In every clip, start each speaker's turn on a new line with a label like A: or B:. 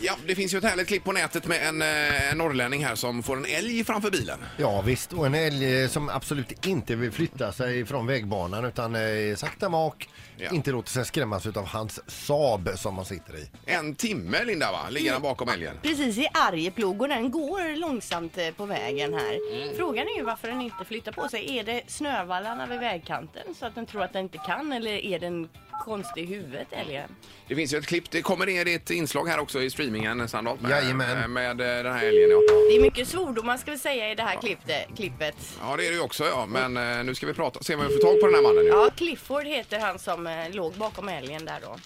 A: Ja, det finns ju ett härligt klipp på nätet med en, eh, en norrlänning här som får en älg framför bilen.
B: Ja visst, och en älg eh, som absolut inte vill flytta sig från vägbanan utan eh, sakta mak,
A: Ja.
B: inte låter sig skrämmas av hans Saab som man sitter i.
A: En timme, Linda, va? Ligger han bakom älgen?
C: Precis i Arjeplog och den går långsamt eh, på vägen här. Frågan är ju varför den inte flyttar på sig. Är det snövallarna vid vägkanten så att den tror att den inte kan eller är den konstig i huvudet älgen?
A: Det finns ju ett klipp. Det kommer ner i ett inslag här också i streamingen, Sandholt, med,
B: Jajamän.
A: med eh, den här älgen. Ja.
C: Det är mycket svordomar ska vi säga i det här klippte- klippet.
A: ja, det är det ju också, ja. Men eh, nu ska vi prata. Se om vi får tag på den här mannen nu.
C: Ja, Clifford heter han som eh, låg bakom älgen där då.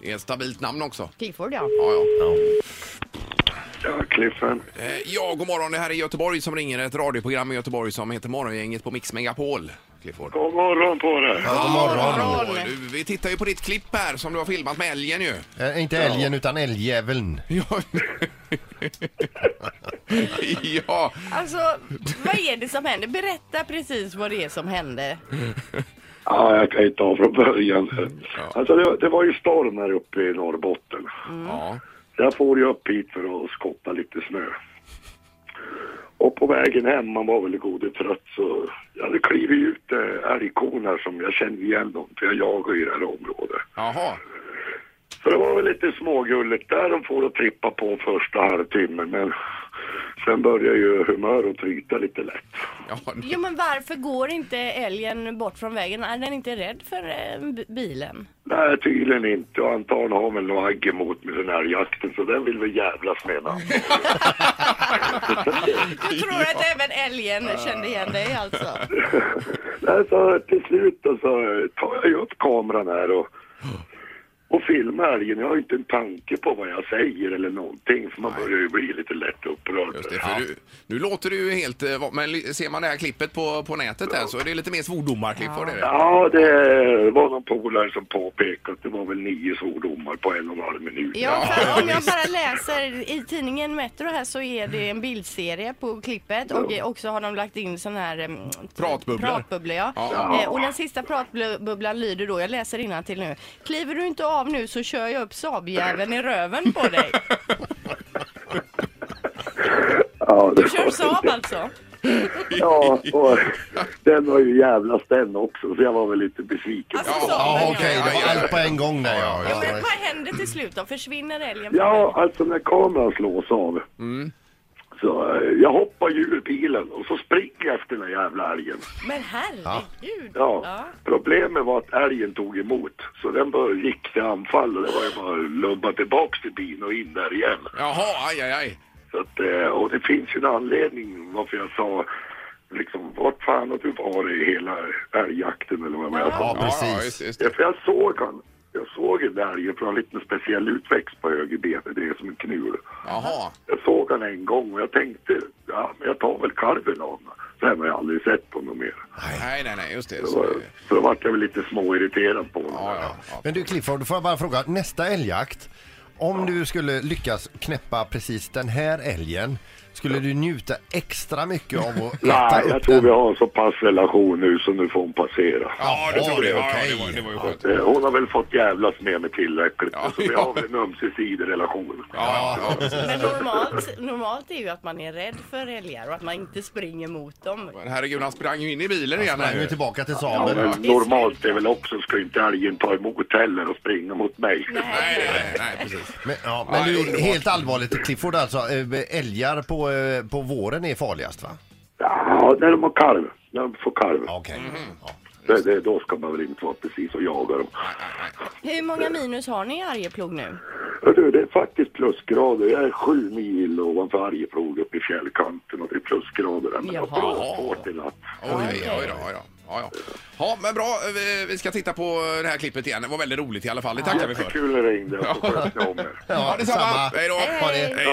A: Det är ett stabilt namn också.
C: Clifford ja.
A: Ja, ja.
D: Ja, Cliffen.
A: Eh, Ja, god morgon. Det här är Göteborg som ringer. Ett radioprogram i Göteborg som heter Morgongänget på Mix Megapol. Clifford.
D: God morgon på dig.
B: God morgon!
A: Ja, du, vi tittar ju på ditt klipp här som du har filmat med älgen ju.
B: Eh, inte älgen utan älgjäveln.
A: Ja. ja.
C: Alltså, vad är det som händer? Berätta precis vad det är som hände.
D: Ja, jag kan ju ta från början. här. Alltså, det, var- det var ju storm här uppe i Norrbotten.
A: ja.
D: Jag får ju upp hit för att skotta lite snö. Och på vägen hem, man var väl gode trött, så jag hade klivit ut eh, älgkon här som jag kände igen dem, för jag jagar ju i det här området.
A: Jaha.
D: Så det var väl lite smågulligt där de får att trippa på första halvtimmen, men sen börjar ju humöret tryta lite lätt.
A: Ja,
C: Jo men varför går inte älgen bort från vägen? Är den inte rädd för eh, b- bilen?
D: Nej, tydligen inte. Och antagligen har man någon agg emot med den här jakten, så den vill vi jävlas med. va?
C: Jag tror att även älgen kände igen dig alltså.
D: Nej, så till slut då, så tar jag ju upp kameran här och, och filmar älgen. Jag har ju inte en tanke på vad jag säger eller någonting, för man börjar ju bli lite lätt upprörd.
A: just det. För du, nu låter det ju helt... eh, va- Men li- ser man det här klippet på, på nätet där så är det lite mer svordomar, Clifford. Är det?
D: Ja, det var någon polare som påpekade att det var väl nio svordomar på en och en halv minut.
C: Ja, för om jag bara läser i tidningen Metro här så är det en bildserie på klippet och också har de lagt in sån här em,
A: Pratbubblor.
C: pratbubblor ja.
A: Ja.
C: Eh, Och den sista pratbubblan lyder då, jag läser till nu. Kliver du inte av nu så kör jag upp Saabjäveln i röven på dig.
D: Ja, det
C: Du kör
D: var-
C: Saab alltså?
D: Ja, och den var ju jävlas den också, så jag var väl lite besviken.
C: Alltså
B: Ja
C: Saab?
B: okej, det var allt på en gång där ja.
C: Ja, men
B: ja.
C: vad händer till slut då? Försvinner älgen? från
D: Ja,
C: vägen?
D: alltså när kameran slås av.
C: Mm.
D: Så eh, jag hoppar ju ur bilen och så springer jag efter den här jävla älgen.
C: Men herregud!
D: Ja.
C: Ja.
D: Problemet var att älgen tog emot. Så den bara gick till anfall och det var ju bara att lubba tillbaks till bilen och in där igen.
A: Jaha, aj, aj, aj.
D: Så att, eh, och det finns ju en anledning varför jag sa liksom vart fan har du varit i hela älgjakten eller vad jag sa.
B: Ja,
A: Ja,
B: precis.
A: just, just
D: Ja,
A: det.
D: för jag såg han. Jag såg en älg för han har lite speciell utväxt på högerbenet. Det är som en knul.
A: Jaha.
D: Jag såg han en gång och jag tänkte, ja men jag tar väl karven av honom. Sen har jag aldrig sett på honom mer.
A: Nej, nej, nej, just Alltså, det.
D: Så,
A: Så,
D: så då vart jag väl lite småirriterad på honom.
A: ja, ja, ja.
B: Men du Clifford, får jag bara fråga, nästa älgjakt, om du skulle lyckas knäppa precis den här älgen, skulle du njuta extra mycket av att äta
D: Nej, jag
B: upp
D: tror
B: den?
D: vi har en så pass relation nu så nu får hon passera.
A: Ja, du
B: Ja,
A: tror det.
B: det är
A: Ja, ja, det,
B: okej.
A: var, det var ju skönt.
D: Eh, Hon har väl fått jävlas med mig tillräckligt.
A: Ja,
D: så vi
A: ja.
D: har väl en ömsesidig relation.
A: Ja, ja, precis.
C: Men normalt, normalt är ju att man är rädd för älgar och att man inte springer mot dem.
A: Men Herregud, han sprang ju in i bilen igen.
B: Nej,
A: här
B: nu
A: ju.
B: tillbaka till
D: Ja,
B: Saaben.
D: men normalt är väl också, ska ju inte älgen ta emot heller och springa mot mig.
A: Nej, nej, nej, nej, precis.
B: Men, ja,
A: Ja,
B: men
A: det är
B: nu,
A: underbart.
B: helt allvarligt Clifford alltså, eh, älgar på, eh, på våren är farligast va?
D: Ja, när de har karv. När de får karv.
B: Ja, Okej.
A: Mhm.
B: Ja.
D: Det, det, då ska man väl inte vara precis och jaga dem.
C: Hur många minus har ni i Arjeplog nu?
D: Hörru, det är faktiskt plusgrader. Jag är sju mil ovanför Arjeplog uppe i fjällkanten och det är plusgrader där. Men det
C: Jaha.
D: var blåsvårt i natt.
A: Oj, oj, då, oj, då. Ja, ja. ja, men bra. Vi- Vi ska titta på det här klippet igen. Det var väldigt roligt i alla fall. Det tackar vi för.
D: Jättekul när det ringde och så sköt ni om er.
A: Ja, detsamma.
B: Samma.
A: Hej då.
B: Ha det.
A: Hej,